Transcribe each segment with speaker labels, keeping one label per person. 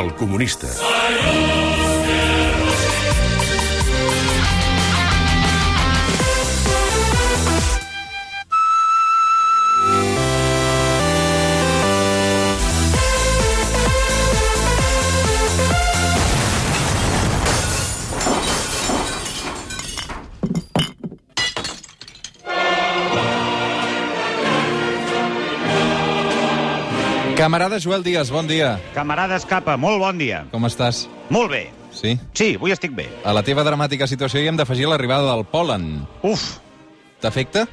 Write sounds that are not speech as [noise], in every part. Speaker 1: El comunista.
Speaker 2: Camarada Joel Díaz, bon dia.
Speaker 3: Camarada Escapa, molt bon dia.
Speaker 2: Com estàs?
Speaker 3: Molt bé.
Speaker 2: Sí?
Speaker 3: Sí, avui estic bé.
Speaker 2: A la teva dramàtica situació hi hem d'afegir l'arribada del pol·len.
Speaker 3: Uf,
Speaker 2: T'afecta?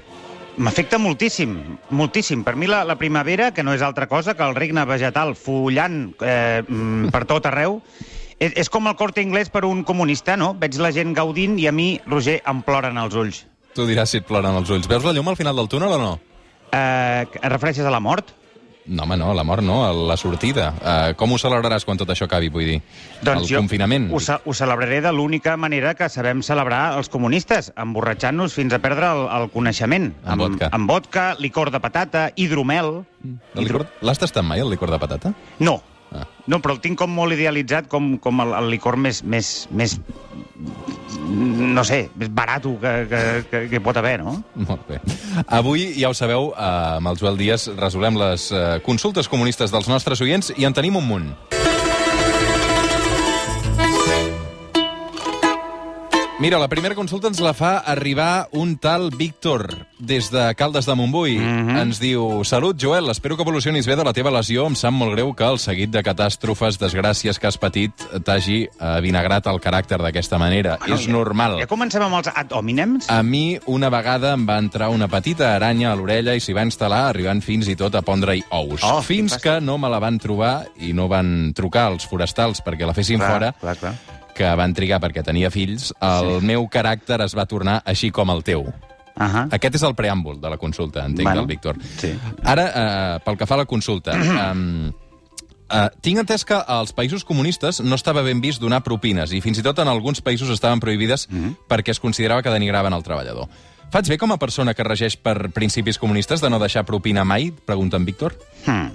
Speaker 3: m'afecta moltíssim, moltíssim. Per mi la, la primavera, que no és altra cosa que el regne vegetal follant eh, mm, per tot arreu, és, és com el corte anglès per un comunista, no? Veig la gent gaudint i a mi, Roger, em ploren els ulls.
Speaker 2: Tu diràs si et ploren els ulls. Veus la llum al final del túnel o no?
Speaker 3: Eh, et refereixes a la mort?
Speaker 2: No, home, no, la mort no, a la sortida. Uh, com ho celebraràs quan tot això acabi, vull dir? el confinament.
Speaker 3: Doncs Ho, ce- ho celebraré de l'única manera que sabem celebrar els comunistes, emborratxant-nos fins a perdre el, el coneixement.
Speaker 2: Amb vodka.
Speaker 3: Amb vodka, licor de patata, hidromel...
Speaker 2: El licor- L'has tastat mai, el licor de patata?
Speaker 3: No.
Speaker 2: Ah.
Speaker 3: No, però el tinc com molt idealitzat, com, com el, el licor més, més, més... No sé, més barat que, que, que, que pot haver, no?
Speaker 2: Molt bé. Avui, ja ho sabeu, eh, amb el Joel Díaz resolem les eh, consultes comunistes dels nostres oients i en tenim un munt. Mira, la primera consulta ens la fa arribar un tal Víctor, des de Caldes de Montbui. Ens diu, salut, Joel, espero que evolucionis bé de la teva lesió. Em sap molt greu que el seguit de catàstrofes, desgràcies que has patit, t'hagi eh, vinagrat el caràcter d'aquesta manera.
Speaker 3: Bueno,
Speaker 2: És
Speaker 3: Ah, ja-
Speaker 2: normal. Ah,
Speaker 3: Ja comencem amb els ad hominems?
Speaker 2: A mi una vegada em va entrar una petita aranya a l'orella i s'hi va instal·lar, arribant fins i tot a pondre-hi ous.
Speaker 3: Oh,
Speaker 2: fins
Speaker 3: fàcil.
Speaker 2: que no me la van trobar i no van trucar els forestals perquè la fessin
Speaker 3: clar,
Speaker 2: fora,
Speaker 3: Clar, clar.
Speaker 2: que van trigar perquè tenia fills, el meu caràcter es va tornar així com el teu.
Speaker 3: Uh -huh.
Speaker 2: Aquest és el preàmbul de la consulta, entenc,
Speaker 3: Bueno,
Speaker 2: del Víctor.
Speaker 3: sí.
Speaker 2: Ara, eh, pel que fa a la
Speaker 3: [clears throat]
Speaker 2: consulta... Eh, Uh, tinc entès que als països comunistes no estava ben vist donar propines i fins i tot en alguns països estaven prohibides mm
Speaker 3: Mhm.
Speaker 2: -hmm. perquè es considerava que denigraven el treballador. Faig bé com a persona que regeix per principis comunistes de no deixar propina mai? Pregunta en Víctor.
Speaker 3: Hmm.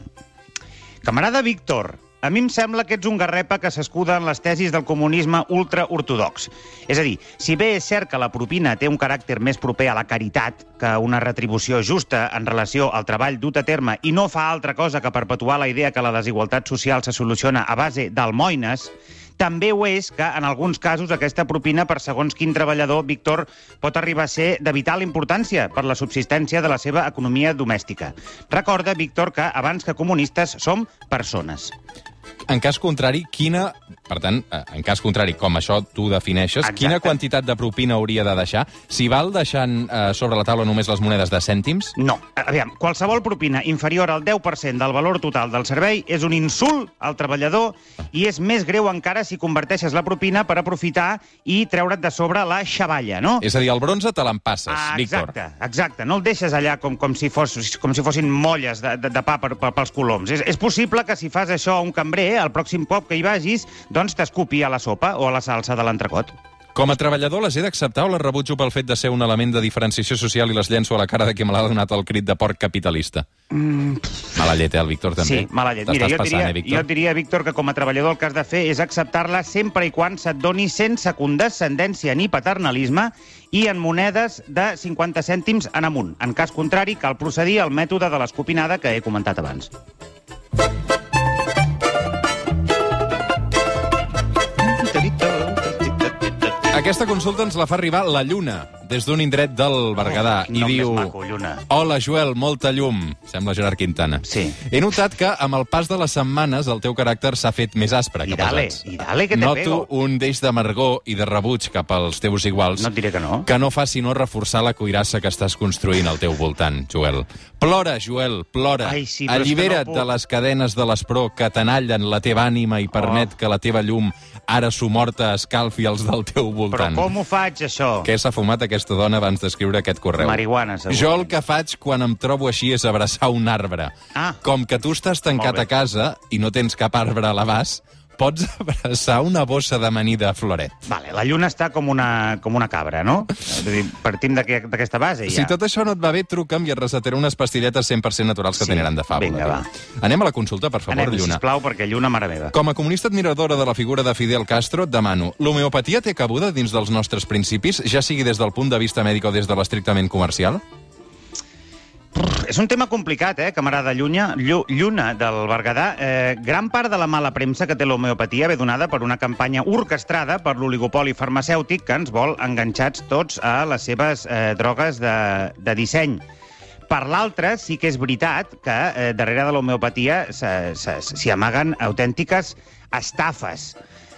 Speaker 3: Camarada Víctor, a mi em sembla que ets un garrepa que s'escuda en les tesis del comunisme ultraortodox. És a dir, si bé és cert que la propina té un caràcter més proper a la caritat que a una retribució justa en relació al treball dut a terme i no fa altra cosa que perpetuar la idea que la desigualtat social se soluciona a base d'almoines, també ho és que, en alguns casos, aquesta propina per segons quin treballador, Víctor, pot arribar a ser de vital importància per la subsistència de la seva economia domèstica. Recorda, Víctor, que abans que comunistes som persones.
Speaker 2: En cas contrari, quina... Per tant, eh, en cas contrari, com això tu defineixes,
Speaker 3: Exacte.
Speaker 2: quina quantitat de propina hauria de deixar? Si val deixant eh, sobre la taula només les monedes de cèntims?
Speaker 3: No. A- Aviam, qualsevol propina inferior al 10% del valor total del servei és un insult al treballador i és més greu encara si converteixes la propina per aprofitar i treure't de sobre la xavalla, no?
Speaker 2: És a dir, el bronze te l'empasses,
Speaker 3: Ah,
Speaker 2: Víctor.
Speaker 3: Exacte, exacte. No el deixes allà com, com, si, fos, com si fossin molles de, de, de pa per, per, pels coloms. És, és possible que si fas això a un cambrer, el pròxim cop que hi vagis, doncs t'escupi a la sopa o a la salsa de l'entrecot.
Speaker 2: Com a treballador les he d'acceptar o les rebutjo pel fet de ser un element de diferenciació social i les llenço a la cara de qui me l'ha donat el crit de porc capitalista? Mm. Mala llet, eh, el Víctor, també.
Speaker 3: Sí, mala llet. Mira,
Speaker 2: T'estàs
Speaker 3: jo et,
Speaker 2: passant,
Speaker 3: diria,
Speaker 2: eh,
Speaker 3: jo
Speaker 2: Víctor?
Speaker 3: et diria, Víctor, que com a treballador el que has de fer és acceptar-la sempre i quan se't doni sense condescendència ni paternalisme i en monedes de 50 cèntims en amunt. En cas contrari, cal procedir al mètode de l'escopinada que he comentat abans.
Speaker 2: Aquesta consulta ens la fa arribar la Lluna, des d'un indret del Berguedà,
Speaker 3: Oh,
Speaker 2: i
Speaker 3: nom més
Speaker 2: diu...
Speaker 3: maco, Lluna.
Speaker 2: Hola, Joel, molta llum. Sembla Gerard Quintana.
Speaker 3: Sí.
Speaker 2: He notat que amb el pas de les setmanes el teu caràcter s'ha fet més aspre
Speaker 3: I
Speaker 2: cap
Speaker 3: dale,
Speaker 2: als altres.
Speaker 3: i dale, que te
Speaker 2: Noto
Speaker 3: pego.
Speaker 2: un deix d'amargor i de rebuig cap als teus iguals.
Speaker 3: No et diré que no.
Speaker 2: que no fa sinó reforçar la cuirassa que estàs construint al teu voltant, Joel. Plora, Joel, plora.
Speaker 3: Ai, sí, però és que
Speaker 2: Allibera't
Speaker 3: no puc.
Speaker 2: de les cadenes de l'espró que t'anallen la teva ànima i
Speaker 3: Oh.
Speaker 2: permet que la teva llum, ara sumorta, escalfi els del teu
Speaker 3: Però
Speaker 2: voltant.
Speaker 3: com ho faig, això?
Speaker 2: Què s'ha fumat aquesta dona abans d'escriure aquest correu?
Speaker 3: Marihuana, segur.
Speaker 2: Jo el que faig quan em trobo així és abraçar un arbre.
Speaker 3: Ah.
Speaker 2: Com que tu estàs tancat
Speaker 3: Molt bé.
Speaker 2: a casa i no tens cap arbre a l'abast, pots [laughs] abraçar una bossa d'amanida floret.
Speaker 3: Vale, la lluna està com una, com una cabra, no? És a dir, Partim d'aquest- d'aquesta base, ja.
Speaker 2: Si tot això no et va bé, truca'm i et recetaré unes pastilletes 100% naturals que
Speaker 3: Sí.
Speaker 2: sí. t'aniran de fàbula.
Speaker 3: Vinga, va.
Speaker 2: Anem a la consulta, per favor,
Speaker 3: Anem,
Speaker 2: Lluna.
Speaker 3: sisplau, perquè lluna, mare meva.
Speaker 2: Com a comunista admiradora de la figura de Fidel Castro, et demano, l'homeopatia té cabuda dins dels nostres principis, ja sigui des del punt de vista mèdic o des de l'estrictament comercial?
Speaker 3: És un tema complicat, eh, camarada Llunya, Llu, Lluna del Berguedà. Eh, gran part de la mala premsa que té l'homeopatia ve donada per una campanya orquestrada per l'oligopoli farmacèutic que ens vol enganxats tots a les seves eh, drogues de, de disseny. Per l'altra, sí que és veritat que eh, darrere de l'homeopatia se- se- s'hi amaguen autèntiques estafes.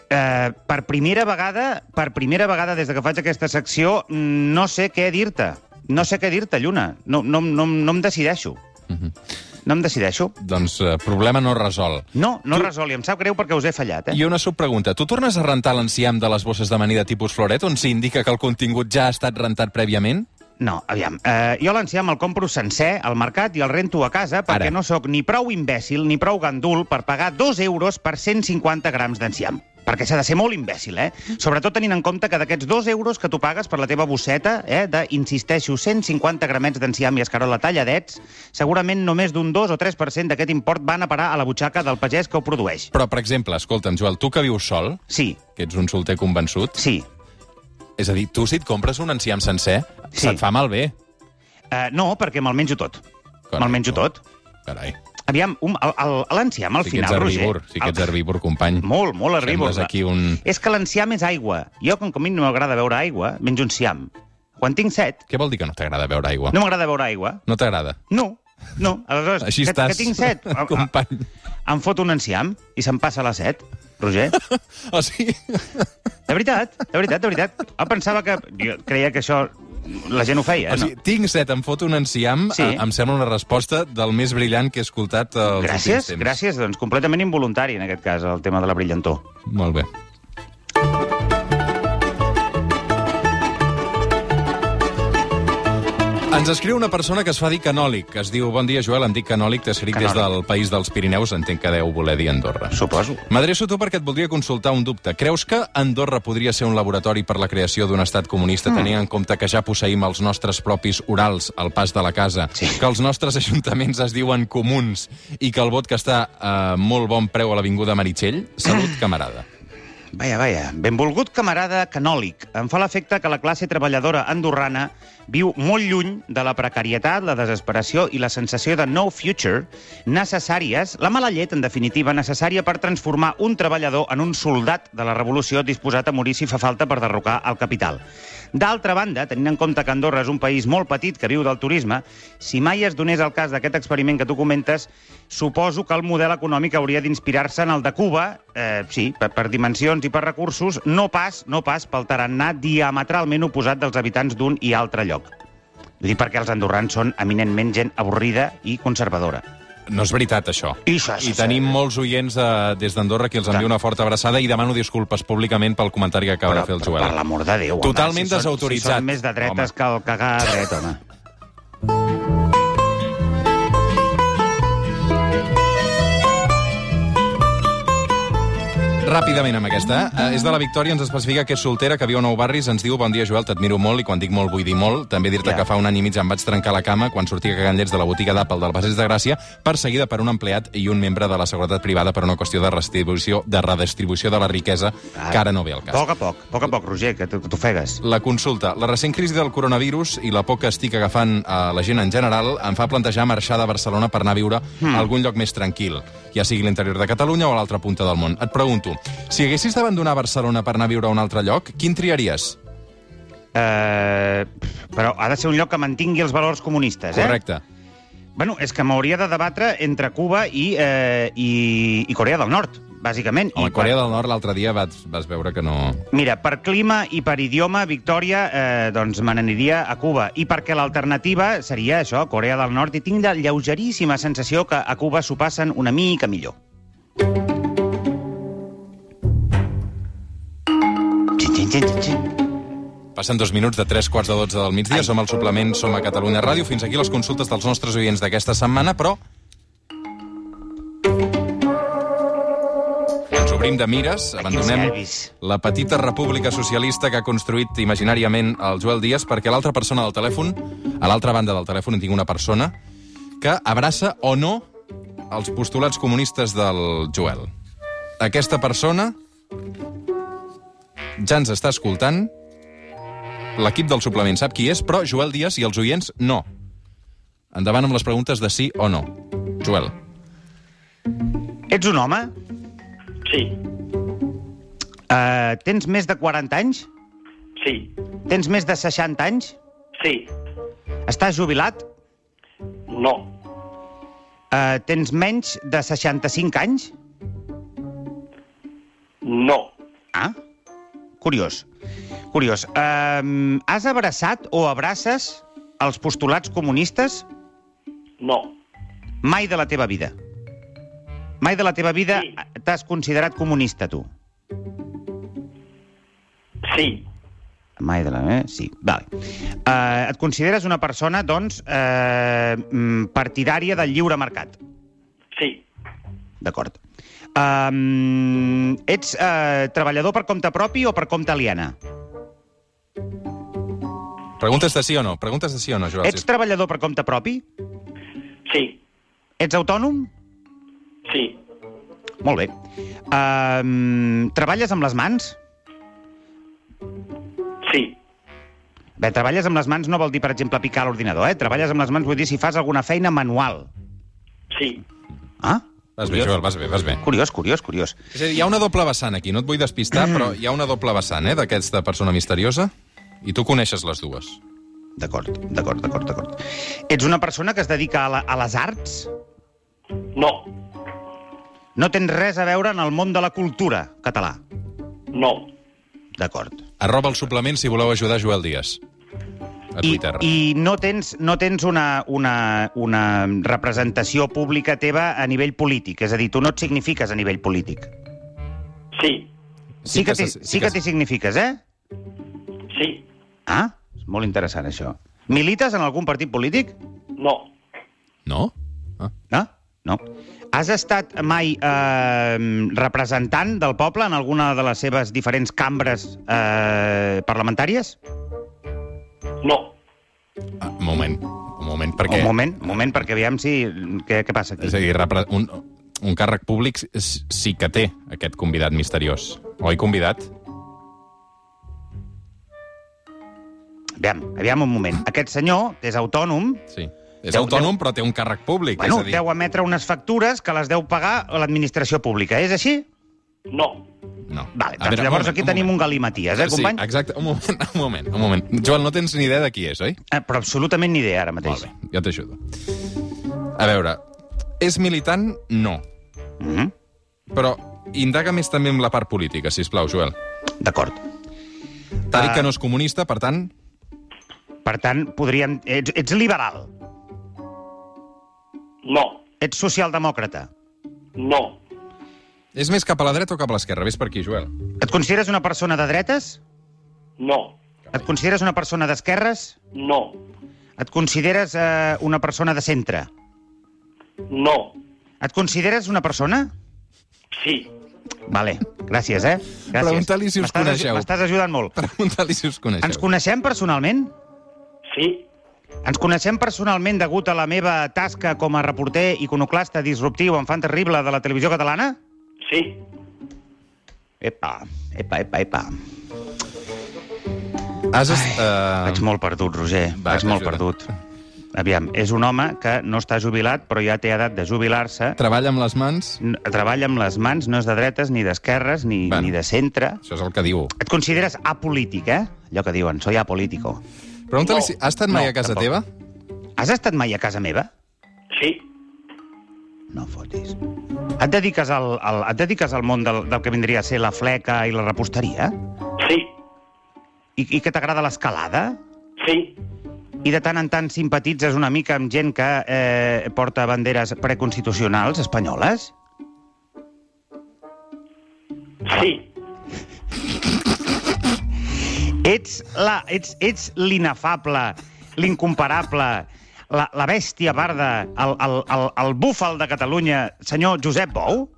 Speaker 3: Eh, per primera vegada, per primera vegada des de que faig aquesta secció, no sé què dir-te. No sé què dir-te, Lluna. No, no, no, no em decideixo. No em decideixo.
Speaker 2: Doncs eh, problema no resol.
Speaker 3: No, no tu... resoli. Em sap greu perquè us he fallat, eh?
Speaker 2: I una subpregunta. Tu tornes a rentar l'enciam de les bosses d'amanida tipus floret on s'indica que el contingut ja ha estat rentat prèviament?
Speaker 3: No, aviam. Uh, jo l'enciam el compro sencer al mercat i el rento a casa perquè
Speaker 2: Ara.
Speaker 3: no sóc ni prou imbècil ni prou gandul per pagar 2 euros per 150 grams d'enciam. Perquè s'ha de ser molt imbècil, eh? Sobretot tenint en compte que d'aquests 2 euros que tu pagues per la teva bosseta, eh, de, insisteixo, 150 gramets d'enciam i escarola talladets, segurament només d'un 2 o 3% d'aquest import van a parar a la butxaca del pagès que ho produeix.
Speaker 2: Però, per exemple, escolta'm, Joel, tu que vius sol,
Speaker 3: Sí,
Speaker 2: que ets un solter convençut,
Speaker 3: sí.
Speaker 2: és a dir, tu si et compres un enciam sencer,
Speaker 3: Sí.
Speaker 2: sí. se't fa malbé.
Speaker 3: Uh, no, perquè me'l menjo tot. Me'l menjo tot.
Speaker 2: Carai,
Speaker 3: Aviam, un, el- el- l'enciam al
Speaker 2: sí que ets
Speaker 3: final,
Speaker 2: herbívor,
Speaker 3: Roger...
Speaker 2: sí que ets
Speaker 3: el-
Speaker 2: herbívor, company.
Speaker 3: Molt, molt herbívor.
Speaker 2: Sembles aquí un...
Speaker 3: És que l'enciam és aigua. Jo, com que a mi no m'agrada beure aigua, menjo enciam. Quan tinc set,
Speaker 2: Què vol dir que no t'agrada beure aigua?
Speaker 3: no m'agrada beure aigua.
Speaker 2: No t'agrada?
Speaker 3: No, no. Aleshores,
Speaker 2: Així
Speaker 3: que,
Speaker 2: estàs,
Speaker 3: que tinc
Speaker 2: [laughs]
Speaker 3: set, Ah, a- a-
Speaker 2: company.
Speaker 3: em fot un enciam i se'm passa la set, Roger.
Speaker 2: O sigui...
Speaker 3: De veritat, de veritat, de veritat. Jo pensava que... Jo creia que això la gent ho feia. eh,
Speaker 2: O sigui, tinc set, em foto un enciam,
Speaker 3: Sí.
Speaker 2: sí. em sembla una resposta del més brillant que he escoltat
Speaker 3: no?
Speaker 2: els últims
Speaker 3: Gràcies,
Speaker 2: temps.
Speaker 3: gràcies. Doncs completament involuntari, en aquest cas, el tema de la brillantor.
Speaker 2: Molt bé. Ens escriu una persona que es fa dir canòlic. Es diu, bon dia, Joel, em dic canòlic, t'he escrit des
Speaker 3: Canòlic.
Speaker 2: del País dels Pirineus, entenc que deu voler dir Andorra.
Speaker 3: Suposo.
Speaker 2: M'adreço a tu perquè et voldria consultar un dubte. Creus que Andorra podria ser un laboratori per la creació d'un estat comunista,
Speaker 3: Hmm.
Speaker 2: mm. tenint en compte que ja posseïm els nostres propis orals al pas de la casa,
Speaker 3: Sí.
Speaker 2: que els nostres [laughs] ajuntaments es diuen comuns i que el vot que està a molt bon preu a l'Avinguda Meritxell? Salut, camarada.
Speaker 3: Vaja, vaja. Benvolgut camarada canòlic. Em fa l'efecte que la classe treballadora andorrana viu molt lluny de la precarietat, la desesperació i la sensació de no future necessàries, la mala llet, en definitiva, necessària per transformar un treballador en un soldat de la revolució disposat a morir si fa falta per derrocar el capital. D'altra banda, tenint en compte que Andorra és un país molt petit que viu del turisme, si mai es donés el cas d'aquest experiment que tu comentes, suposo que el model econòmic hauria d'inspirar-se en el de Cuba, eh, sí, per, per dimensions i per recursos, no pas, no pas pel tarannà diametralment oposat dels habitants d'un i altre lloc. Vull dir, perquè els andorrans són eminentment gent avorrida i conservadora.
Speaker 2: No és veritat, això.
Speaker 3: I, això,
Speaker 2: I tenim molts oients de, des d'Andorra que els envio una forta abraçada i demano disculpes públicament pel comentari que acaba
Speaker 3: Però,
Speaker 2: de fer el
Speaker 3: per,
Speaker 2: Joel.
Speaker 3: per l'amor de Déu,
Speaker 2: Totalment
Speaker 3: home, si són- Si
Speaker 2: desautoritzat,
Speaker 3: són més de dretes
Speaker 2: home.
Speaker 3: home. que el cagar a dret, home.
Speaker 2: Ràpidament amb aquesta. Uh, és de la Victòria, ens especifica que és soltera, que viu a Nou Barris, ens diu Bon dia, Joel, t'admiro molt i quan dic molt vull dir molt. També dir-te
Speaker 3: Ja.
Speaker 2: yeah. que fa un any i mig em vaig trencar la cama quan sortia cagant llets de la botiga d'Apple del Passeig de Gràcia, perseguida per un empleat i un membre de la seguretat privada per una qüestió de redistribució de, redistribució de la riquesa, que ara no ve al
Speaker 3: A
Speaker 2: cas.
Speaker 3: poc a poc, a poc a poc, Roger, que t- que t'ofegues.
Speaker 2: La consulta. La recent crisi del coronavirus i la por que estic agafant a la gent en general em fa plantejar marxar de Barcelona per anar a viure a algun lloc més tranquil, ja sigui l'interior de Catalunya o a l'altra punta del món. Et pregunto, si haguessis d'abandonar Barcelona per anar a viure a un altre lloc, quin triaries?
Speaker 3: Eh, però ha de ser un lloc que mantingui els valors comunistes, eh?
Speaker 2: Correcte.
Speaker 3: Bueno, és que m'hauria de debatre entre Cuba i, eh, i, i Corea del Nord, bàsicament.
Speaker 2: A
Speaker 3: I
Speaker 2: la Corea del Nord l'altre dia vas, vas veure que no...
Speaker 3: per, mira, per clima i per idioma, Victòria, eh, doncs me n'aniria a Cuba. I perquè l'alternativa seria això, Corea del Nord, i tinc la lleugeríssima sensació que a Cuba s'ho passen una mica millor. Xin, xin, xin, xin, xin.
Speaker 2: Passen dos minuts de tres quarts de dotze del migdia. Ai. Som al suplement, som a Catalunya Ràdio. Fins aquí les consultes dels nostres oients d'aquesta setmana, però... Ens obrim de mires, abandonem
Speaker 3: nervis.
Speaker 2: la petita república socialista que ha construït imaginàriament el Joel Díaz perquè a l'altra persona del telèfon, a l'altra banda del telèfon en tinc una persona que abraça o no els postulats comunistes del Joel. Aquesta persona ja ens està escoltant. L'equip del suplement sap qui és, però Joel Díaz i els oients no. Endavant amb les preguntes de sí o no. Joel.
Speaker 3: Ets un home?
Speaker 1: Sí,
Speaker 3: Uh, tens més de 40 anys?
Speaker 1: sí,
Speaker 3: Tens més de 60 anys?
Speaker 1: sí,
Speaker 3: Estàs jubilat?
Speaker 1: no,
Speaker 3: Uh, tens menys de 65 anys?
Speaker 1: no,
Speaker 3: Ah, curiós. Curiós. Uh, has abraçat o abraces els postulats comunistes
Speaker 1: no,
Speaker 3: mai de la teva vida? Mai de la teva vida
Speaker 1: Sí.
Speaker 3: t'has considerat comunista, tu?
Speaker 1: sí,
Speaker 3: Mai de la meva... Sí, vale. Uh, et consideres una persona, doncs, uh, partidària del lliure mercat.
Speaker 1: sí,
Speaker 3: D'acord. Um, ets uh, treballador per compte propi o per compte aliena?
Speaker 2: Preguntes de sí o no. Preguntes de sí o no, Joel.
Speaker 3: Ets treballador per compte propi?
Speaker 1: sí,
Speaker 3: Ets autònom?
Speaker 1: sí,
Speaker 3: Molt bé. Um, treballes amb les mans?
Speaker 1: sí,
Speaker 3: Bé, treballes amb les mans no vol dir, per exemple, picar a l'ordinador, eh? Treballes amb les mans vull dir si fas alguna feina manual.
Speaker 1: sí,
Speaker 3: Ah,
Speaker 2: Vas bé, Joel, vas bé, vas bé.
Speaker 3: curiós, curiós, curiós.
Speaker 2: És a dir, hi ha una doble vessant aquí, no et vull despistar, però hi ha una doble vessant, eh, d'aquesta persona misteriosa, i tu coneixes les dues.
Speaker 3: D'acord, d'acord, d'acord, d'acord. Ets una persona que es dedica a, la, a les arts?
Speaker 1: no,
Speaker 3: No tens res a veure en el món de la cultura català.
Speaker 1: no,
Speaker 3: D'acord.
Speaker 2: Arroba el suplement si voleu ajudar Joel Díaz. A
Speaker 3: I,
Speaker 2: Twitter.
Speaker 3: I no tens, no tens una, una, una representació pública teva a nivell polític, és a dir, tu no et signifiques a nivell polític.
Speaker 1: sí,
Speaker 3: Sí, que, t'hi-
Speaker 2: se-
Speaker 3: sí que t'hi signifiques, eh?
Speaker 1: sí,
Speaker 3: Ah, és molt interessant, això. Milites en algun partit polític?
Speaker 1: no,
Speaker 2: No? Ah.
Speaker 3: No? No. Has estat mai eh, representant del poble en alguna de les seves diferents cambres eh, parlamentàries?
Speaker 1: no,
Speaker 2: ah, un moment, un moment, perquè...
Speaker 3: Un moment, un moment, perquè veiem si... Què, què passa aquí?
Speaker 2: És a dir, repre- un, un càrrec públic s- sí que té aquest convidat misteriós. Oi, convidat?
Speaker 3: Aviam, aviam un moment. Aquest senyor és autònom,
Speaker 2: Sí. És
Speaker 3: Deu-
Speaker 2: autònom, però té un càrrec públic.
Speaker 3: bueno,
Speaker 2: és a dir,
Speaker 3: deu emetre unes factures que les deu pagar a l'administració pública, és així?
Speaker 1: no,
Speaker 2: No.
Speaker 3: Vale,
Speaker 2: A
Speaker 3: doncs
Speaker 2: veure,
Speaker 3: llavors
Speaker 2: moment,
Speaker 3: aquí tenim
Speaker 2: moment.
Speaker 3: un galimaties, eh, company?
Speaker 2: Sí, exacte. Un moment, [laughs] un moment, un moment. Joel, no tens ni idea de qui és, oi?
Speaker 3: Eh, Però absolutament ni idea ara mateix.
Speaker 2: Molt bé, jo t'ajudo. A veure, és militant? No.
Speaker 3: Mm -hmm.
Speaker 2: Però indaga més també amb la part política, si plau, Joel.
Speaker 3: D'acord.
Speaker 2: T'ha dit
Speaker 3: Ah.
Speaker 2: que no és comunista, per tant...
Speaker 3: Per tant, podríem... Ets, ets liberal,
Speaker 1: no,
Speaker 3: ets socialdemòcrata.
Speaker 1: no,
Speaker 2: És més cap a la dreta o cap a l'esquerra? Ves per aquí, Joel. [laughs]
Speaker 3: Et consideres una persona de dretes?
Speaker 1: no,
Speaker 3: Et consideres una persona d'esquerres?
Speaker 1: no,
Speaker 3: Et consideres eh, una persona de centre?
Speaker 1: no,
Speaker 3: Et consideres una persona?
Speaker 1: sí,
Speaker 3: Vale, gràcies, eh? Gràcies.
Speaker 2: Pregunta-li si us
Speaker 3: M'estàs aju-
Speaker 2: coneixeu.
Speaker 3: M'estàs ajudant molt.
Speaker 2: Pregunta-li si us
Speaker 3: Ens
Speaker 2: coneixeu.
Speaker 3: coneixem personalment?
Speaker 1: sí,
Speaker 3: Ens coneixem personalment degut a la meva tasca com a reporter iconoclasta disruptiu en fan terrible de la televisió catalana?
Speaker 1: sí,
Speaker 3: Epa, epa, epa, epa.
Speaker 2: Has est...
Speaker 3: Uh... Vaig
Speaker 2: Uh...
Speaker 3: molt perdut, Roger.
Speaker 2: Va,
Speaker 3: Va, Vaig molt
Speaker 2: t'ajuda.
Speaker 3: perdut. Aviam, és un home que no està jubilat, però ja té edat de jubilar-se.
Speaker 2: Treballa amb les mans?
Speaker 3: N- Treballa amb les mans, no és de dretes, ni d'esquerres, ni,
Speaker 2: Bueno.
Speaker 3: bueno. ni de centre.
Speaker 2: Això és el que diu.
Speaker 3: Et consideres apolític, eh? Allò que diuen, soy apolítico.
Speaker 2: Pregunta-li
Speaker 1: No.
Speaker 2: si... Has estat mai
Speaker 3: No,
Speaker 2: a casa
Speaker 3: tampoc.
Speaker 2: teva?
Speaker 3: Has estat mai a casa meva?
Speaker 1: sí,
Speaker 3: No fotis. Et dediques al, al, et dediques al món del, del que vindria a ser la fleca i la reposteria?
Speaker 1: sí,
Speaker 3: I, i que t'agrada l'escalada?
Speaker 1: sí,
Speaker 3: I de tant en tant simpatitzes una mica amb gent que eh, porta banderes preconstitucionals espanyoles?
Speaker 1: sí,
Speaker 3: Ets, la, ets, ets l'inefable, l'incomparable, la, la bèstia barda, el, el, el, el búfal de Catalunya, senyor Josep Bou?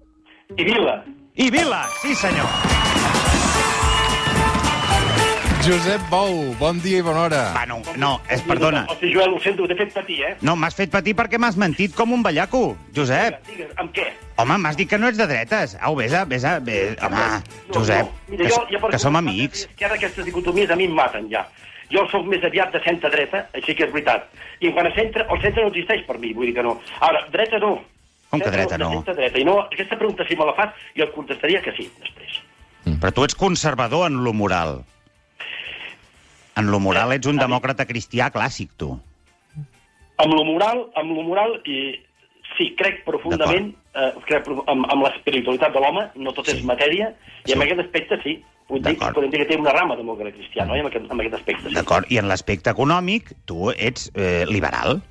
Speaker 1: i Vila,
Speaker 3: I Vila, sí senyor.
Speaker 2: Josep Bou, bon dia i bona hora.
Speaker 3: Va, Ah, no, no, és, perdona.
Speaker 1: Hosti, Joel, ho sento, t'he fet patir, eh?
Speaker 3: No, m'has fet patir perquè m'has mentit com un bellaco, Josep.
Speaker 1: Digues, digues, amb què?
Speaker 3: Home, m'has dit que no ets de dretes. Au, vés a... Vés a vés. Eh,
Speaker 1: Ah,
Speaker 3: Home, Josep, que,
Speaker 1: jo,
Speaker 3: s-
Speaker 1: per
Speaker 3: que
Speaker 1: exemple,
Speaker 3: som amics.
Speaker 1: Que ara aquestes dicotomies a mi em maten, ja. Jo sóc més aviat de centre-dreta, així que és veritat. I quan a centre, el centre no existeix per mi, vull dir que no. Ara, dreta no.
Speaker 3: Com que dreta no?
Speaker 1: De Centre-dreta. I no, aquesta pregunta, si me la fas, jo et contestaria que sí, després.
Speaker 3: Però tu ets conservador en lo moral. En lo moral ets un demòcrata cristià clàssic, tu.
Speaker 1: Amb lo moral, amb lo moral, i sí, crec profundament, eh, crec, prof- amb, amb l'espiritualitat de l'home, no tot
Speaker 3: Sí.
Speaker 1: és matèria, i
Speaker 3: Sí.
Speaker 1: en aquest aspecte sí. Podem dir,
Speaker 3: D'acord.
Speaker 1: podem dir que té una rama demòcrata cristiana, oi? En aquest, en aquest aspecte, sí.
Speaker 3: D'acord? I en l'aspecte econòmic, tu ets eh, liberal.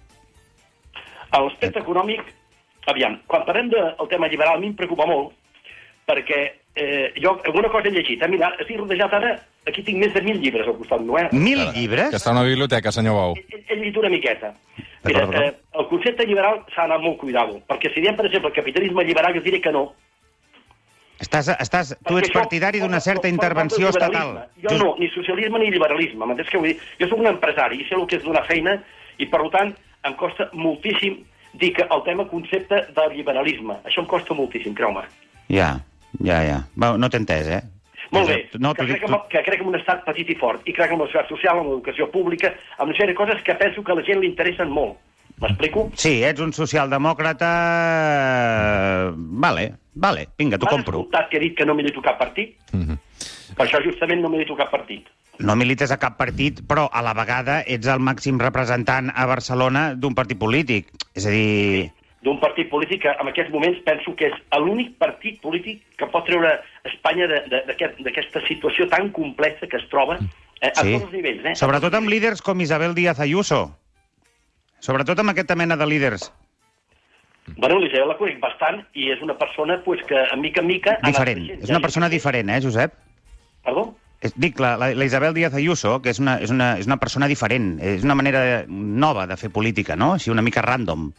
Speaker 1: A l'aspecte econòmic, aviam, quan parlem del tema liberal, a mi em preocupa molt, perquè eh, jo alguna cosa he llegit. Eh? Mira, estic rodejat ara, aquí tinc més de mil llibres al costat meu, eh?
Speaker 3: Mil
Speaker 2: Que
Speaker 3: llibres?
Speaker 2: està a una biblioteca, senyor Bou.
Speaker 1: He, he llegit una miqueta. Mira,
Speaker 3: D'acord,
Speaker 1: eh,
Speaker 3: d'acord.
Speaker 1: el concepte liberal s'ha d'anar molt cuidado, perquè si diem, per exemple, el capitalisme liberal, jo diré que no.
Speaker 3: Estàs, estàs, tu
Speaker 1: Perquè
Speaker 3: ets
Speaker 1: això
Speaker 3: partidari d'una
Speaker 1: forma-
Speaker 3: certa
Speaker 1: forma
Speaker 3: intervenció
Speaker 1: part del
Speaker 3: estatal.
Speaker 1: liberalisme. Jo no, ni socialisme ni liberalisme, m'entens què vull dir? Jo sóc un empresari i sé el que és donar feina i, per tant, em costa moltíssim dir que el tema concepte de liberalisme. Això em costa moltíssim, creu-me.
Speaker 3: Ja, ja, ja. Va, no t'he entès, eh?
Speaker 1: Molt bé,
Speaker 3: No,
Speaker 1: que,
Speaker 3: t'ho
Speaker 1: crec
Speaker 3: dic...
Speaker 1: que, amb- que crec en un estat petit i fort, i crec en la societat social, en l'educació pública, en una sèrie de coses que penso que a la gent li interessen molt. M'explico?
Speaker 3: Sí, ets un socialdemòcrata... Vale, vale, vinga, t'ho
Speaker 1: M'has
Speaker 3: compro. Mhm.
Speaker 1: escoltat que he dit que no milito cap partit? Per això justament no milito cap partit.
Speaker 3: No milites a cap partit, però a la vegada ets el màxim representant a Barcelona d'un partit polític. És a dir...
Speaker 1: D'un partit polític que en aquests moments penso que és l'únic partit polític que pot treure Espanya de- de- d'aquest- d'aquesta situació tan complexa que es troba eh, a tots els nivells. Eh?
Speaker 3: Sobretot amb líders com Isabel Díaz Ayuso. Sobretot amb aquesta mena de líders.
Speaker 1: Bueno, l'Isabel la conec bastant i és una persona pues, que, a mica en mica... ha anat
Speaker 3: Diferent.
Speaker 1: creixent.
Speaker 3: És
Speaker 1: Ja
Speaker 3: una
Speaker 1: hi-
Speaker 3: persona diferent, eh, Josep?
Speaker 1: Perdó?
Speaker 3: És- Dic, la, la, la Isabel Díaz Ayuso, que és una, és, una, és una persona diferent, és una manera nova de fer política, no? Així una mica random.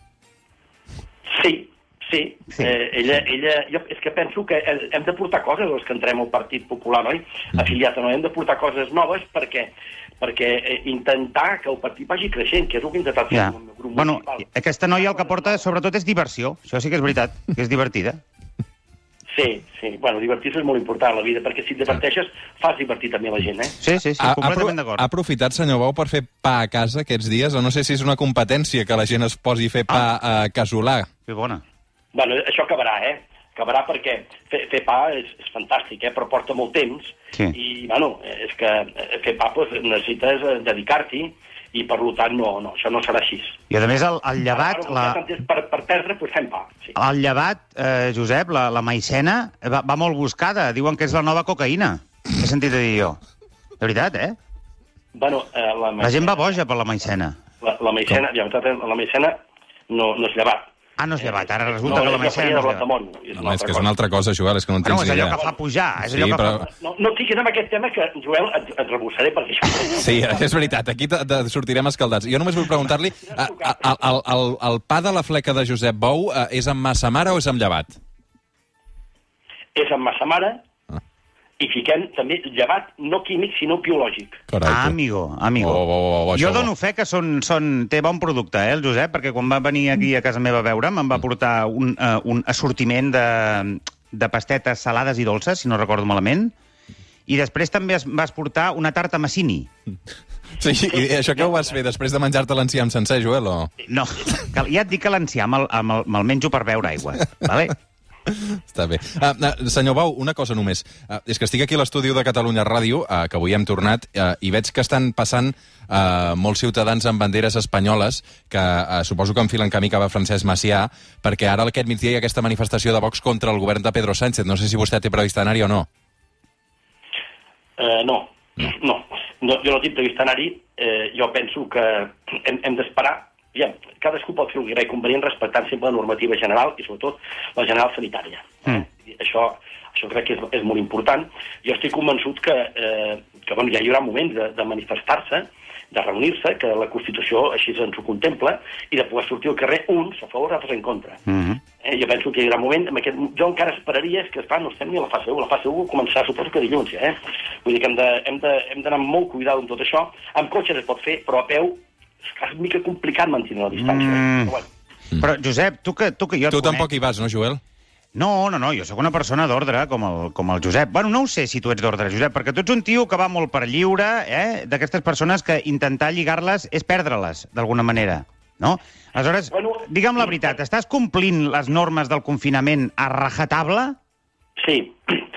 Speaker 1: Sí, sí.
Speaker 3: Sí.
Speaker 1: sí. Eh, ella, ella, jo és que penso que eh, hem de portar coses els que entrem al Partit Popular, oi?
Speaker 3: Mm-hmm.
Speaker 1: Afiliats o no, hem de portar coses noves perquè perquè eh, intentar que el partit vagi creixent, que és el que he intentat fer
Speaker 3: Ja.
Speaker 1: amb el meu grup
Speaker 3: Bueno,
Speaker 1: municipal.
Speaker 3: aquesta noia el que porta sobretot és diversió. Això sí que és veritat, que és divertida.
Speaker 1: Sí, sí. Bueno, divertir-se és molt important a la vida, perquè si et diverteixes, fas divertir també la gent, eh?
Speaker 3: Sí, sí, sí,
Speaker 2: Ha, ha, apro-
Speaker 3: completament d'acord.
Speaker 2: ha aprofitat, senyor Bou, per fer pa a casa aquests dies? O no sé si és una competència que la gent es posi a fer pa
Speaker 3: Ah.
Speaker 2: a casolà.
Speaker 3: Que bona.
Speaker 1: Bueno, això acabarà, eh? Acabarà perquè fer, fer pa és, és fantàstic, eh? però porta molt temps.
Speaker 3: Sí.
Speaker 1: I, bueno, eh, és que eh, fer pa pues, necessites eh, dedicar-t'hi i, per tant, no, no, això no serà així.
Speaker 3: I a més el, el llevat,
Speaker 1: Ara,
Speaker 3: la,
Speaker 1: tant és Per, per perdre, pues, fem pa. Sí.
Speaker 3: el llevat eh, Josep, la, la maicena, eh, va, va molt buscada. Diuen que és la nova cocaïna. He sentit a dir jo. De veritat, eh?
Speaker 1: Bueno, eh, la,
Speaker 3: La gent
Speaker 1: maicena,
Speaker 3: va boja per la maicena.
Speaker 1: la, la maicena, ja, la maicena no, no és llevat.
Speaker 3: Ah, no és llevat, ara resulta
Speaker 1: no,
Speaker 3: que la
Speaker 1: és
Speaker 3: maicena no és
Speaker 1: farinha de
Speaker 3: llevat.
Speaker 1: blat de moro,
Speaker 2: No, és que és
Speaker 1: cosa.
Speaker 2: una altra cosa, Joel, és que no en
Speaker 3: Ah, No,
Speaker 2: tens
Speaker 3: és
Speaker 2: ni
Speaker 3: allò
Speaker 2: idea.
Speaker 3: que fa pujar, és
Speaker 2: Sí,
Speaker 3: allò que
Speaker 2: però...
Speaker 3: fa...
Speaker 1: No, no fiquis en aquest tema que, Joel, et, et rebussaré perquè això...
Speaker 2: Sí, [laughs] és veritat, aquí te, te sortirem escaldats. Jo només vull
Speaker 3: [laughs]
Speaker 2: preguntar-li, a- a- a- el, el, el pa de la fleca de Josep Bou eh, és amb massa mare o és amb llevat?
Speaker 3: Ah,
Speaker 1: és amb massa mare
Speaker 2: Ah.
Speaker 1: i fiquem també llevat no químic, sinó biològic.
Speaker 2: Carai,
Speaker 3: Ah,
Speaker 2: tu.
Speaker 3: amigo, amigo.
Speaker 2: Oh, oh, oh, oh,
Speaker 3: jo
Speaker 2: això,
Speaker 3: dono
Speaker 2: oh.
Speaker 3: fe que són, són, té bon producte, eh, el Josep, perquè quan va venir aquí a casa meva a veure'm em va portar un, uh, un assortiment de, de pastetes salades i dolces, si no recordo malament, i després també es, vas portar una tarta massini.
Speaker 2: Sí, i això que ho vas fer després de menjar-te l'enciam sencer, Joel, o...?
Speaker 3: No, [laughs] que, ja et dic que l'encià me'l me me menjo per beure aigua, vale?
Speaker 2: Està bé. Ah, ah, senyor Bau, una cosa només. Ah, és que estic aquí a l'estudi de Catalunya Ràdio, ah, que avui hem tornat, ah, i veig que estan passant ah, molts ciutadans amb banderes espanyoles, que ah, suposo que enfilen camí cap a Francesc Macià, perquè ara aquest migdia hi ha aquesta manifestació de Vox contra el govern de Pedro Sánchez. No sé si vostè té previst anar-hi o no.
Speaker 1: Eh, no, no, no, jo no tinc previst anar-hi, eh, jo penso que hem, hem d'esperar, ja, cadascú pot fer el que creu convenient respectant sempre la normativa general i sobretot la general sanitària. Eh,
Speaker 3: Mm.
Speaker 1: Això, això crec que és, és molt important. Jo estic convençut que, eh, que bueno, ja hi haurà moments de, de manifestar-se, de reunir-se, que la Constitució així ens ho contempla, i de poder sortir al carrer uns a favor, altres en contra.
Speaker 3: Mm -hmm.
Speaker 1: Eh, jo penso que hi haurà un moment, en aquest, jo encara esperaria, és que esclar, no estem ni a la fase 1, la fase 1 començarà suposo que dilluns, eh? Vull dir que hem de- hem de- hem d'anar amb molt cuidado amb tot això. Amb cotxes es pot fer, però a peu és una mica complicat mantenir la distància. eh?
Speaker 3: Mm.
Speaker 1: Però bueno,
Speaker 3: Però, Josep, tu que, tu que jo et
Speaker 2: Tu
Speaker 3: conec...
Speaker 2: tampoc hi vas, no, Joel?
Speaker 3: No, no, no, jo sóc una persona d'ordre, com, el, com el Josep. Bueno, no ho sé si tu ets d'ordre, Josep, perquè tu ets un tio que va molt per lliure, eh? d'aquestes persones que intentar lligar-les és perdre-les, d'alguna manera. No? Aleshores, bueno,
Speaker 1: Bueno,
Speaker 3: digue'm la veritat, estàs complint les normes del confinament a rajatable?
Speaker 1: Sí,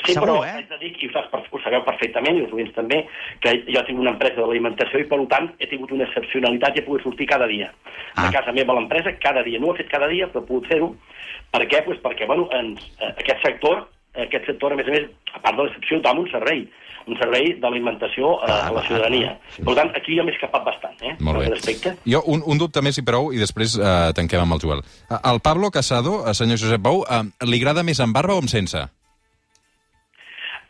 Speaker 1: sí
Speaker 3: Segur,
Speaker 1: però
Speaker 3: eh?
Speaker 1: haig de dir, i ho, saps, per- ho sabeu perfectament, i els oients també, que jo tinc una empresa de l'alimentació i, per tant, he tingut una excepcionalitat i he pogut sortir cada dia.
Speaker 3: Ah.
Speaker 1: De casa meva a l'empresa, cada dia. No ho he fet cada dia, però he pogut fer-ho. Per què? Pues perquè bueno, ens, eh, aquest sector, aquest sector, a més a més, a part de l'excepció, dona un servei un servei d'alimentació a,
Speaker 3: Ah,
Speaker 1: a la ciutadania. Per tant, aquí ja m'he escapat bastant, eh?
Speaker 2: Molt
Speaker 1: en aquest
Speaker 2: bé.
Speaker 1: Aspecte.
Speaker 2: Jo, un, un dubte més, si prou, i després eh, tanquem amb el Joel. Eh, Al Pablo Casado, eh, senyor Josep Bou, eh, li agrada més amb barba o amb sense?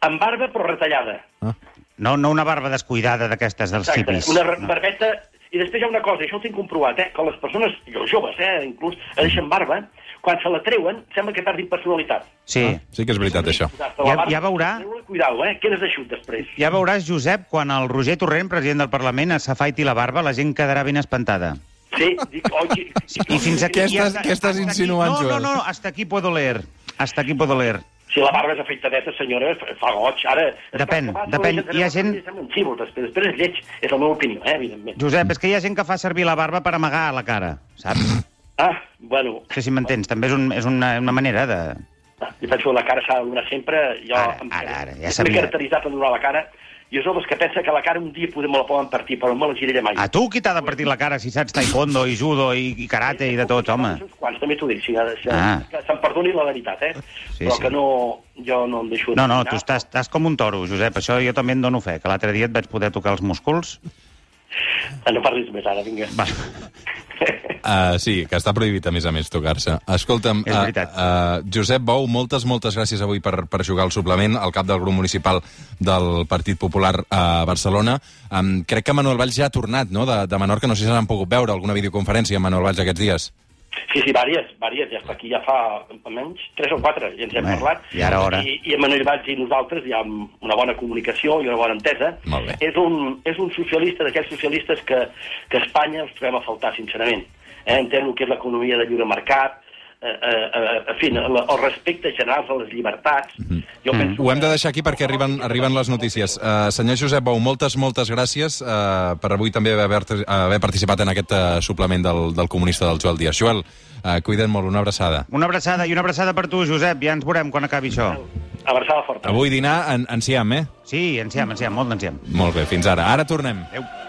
Speaker 1: Amb barba, però retallada.
Speaker 3: No, no una barba descuidada d'aquestes dels
Speaker 1: Exacte,
Speaker 3: hippies.
Speaker 1: una re- barbeta... I després hi ha una cosa, i això ho tinc comprovat, eh? que les persones, i els joves, eh? inclús, es deixen barba, quan se la treuen, sembla que perdin personalitat.
Speaker 3: Sí.
Speaker 2: Sí que és veritat, això.
Speaker 1: Posar-te la
Speaker 3: Ja-
Speaker 1: barba,
Speaker 3: ja veurà.
Speaker 1: treu-la, Cuidao, eh? Quedes eixut després.
Speaker 3: Ja veuràs, Josep, quan el Roger Torrent, president del Parlament, es s'afaiti la barba, la gent quedarà ben espantada.
Speaker 1: Sí, dic, oi, qui-
Speaker 3: Sí, [laughs] I fins aquí...
Speaker 2: Què
Speaker 3: i
Speaker 2: estàs-
Speaker 3: hasta-
Speaker 2: què estàs
Speaker 3: hasta aquí-
Speaker 2: insinuant,
Speaker 3: no,
Speaker 2: Joel?
Speaker 3: No, no, no, hasta aquí puedo leer. Hasta aquí puedo leer.
Speaker 1: Si la barba és afeitadeta, senyora, fa- fa goig. Ara...
Speaker 3: Depèn,
Speaker 1: Abans
Speaker 3: depèn.
Speaker 1: la gent
Speaker 3: Hi ha
Speaker 1: era-
Speaker 3: gent-
Speaker 1: sembla un xívol, després, després és lleig, és la meva opinió, eh? evidentment.
Speaker 3: Josep, és que hi ha gent que fa servir la barba per amagar la cara, saps?
Speaker 1: Ah, bueno,
Speaker 3: No sé si m'entens, també és, un, és una, una manera de...
Speaker 1: Jo penso que la cara s'ha de donar sempre. Jo
Speaker 3: Ara,
Speaker 1: em-
Speaker 3: ara, ara, ja
Speaker 1: M'he
Speaker 3: sabia.
Speaker 1: caracteritzat a donar la cara. Jo soc dels que pensa que la cara un dia poder me la poden partir, però no me la giraré mai.
Speaker 3: A tu qui t'ha de partir la cara si saps taekwondo i judo i, i karate i de tot, home?
Speaker 1: Quants, també t'ho dic, si, si,
Speaker 3: Ah.
Speaker 1: ah. que se'm perdoni la veritat, eh?
Speaker 3: Sí,
Speaker 1: Sí, però
Speaker 3: sí.
Speaker 1: que no, jo no em deixo...
Speaker 3: No, no,
Speaker 1: dominar.
Speaker 3: tu estàs, estàs com un toro, Josep. Això jo també en dono fe, que l'altre dia et vaig poder tocar els músculs.
Speaker 1: Ah, No parlis més ara, vinga.
Speaker 3: Va.
Speaker 2: Uh, sí, que està prohibit, a més a més, tocar-se. Escolta'm,
Speaker 3: És veritat.
Speaker 2: Uh, uh, Josep Bou, moltes, moltes gràcies avui per, per jugar al suplement, al cap del grup municipal del Partit Popular a Barcelona. Um, crec que Manuel Valls ja ha tornat, no?, de, de Menorca. No sé si n'han pogut veure alguna videoconferència amb Manuel Valls aquests dies.
Speaker 1: Sí, sí, vàries, vàries. Ja està aquí ja fa almenys 3 o 4, ja ens hem
Speaker 3: Bé,
Speaker 1: parlat.
Speaker 3: i ara hora.
Speaker 1: I, i Manuel Valls i nosaltres hi ha una bona comunicació i una bona entesa.
Speaker 2: Molt bé.
Speaker 1: És un, és un socialista d'aquells socialistes que, que a Espanya els trobem a faltar, sincerament. Eh, entén el que és l'economia de lliure mercat, eh, eh, eh, en fi, la, el respecte general a les llibertats.
Speaker 3: Mhm.
Speaker 1: Jo penso
Speaker 2: Mhm. Ho hem de deixar aquí perquè arriben, arriben les notícies. Uh, senyor Josep Bou, moltes, moltes gràcies uh, per avui també haver, haver participat en aquest uh, suplement del, del comunista del Joel Díaz. Joel, uh, cuida't molt, una abraçada.
Speaker 3: Una abraçada i una abraçada per tu, Josep. Ja ens veurem quan acabi això.
Speaker 1: Abraçada forta.
Speaker 2: Avui dinar en, en Siam, eh?
Speaker 3: Sí, enciam, enciam, molt enciam.
Speaker 2: Molt bé, fins ara. Ara tornem.
Speaker 3: Adéu.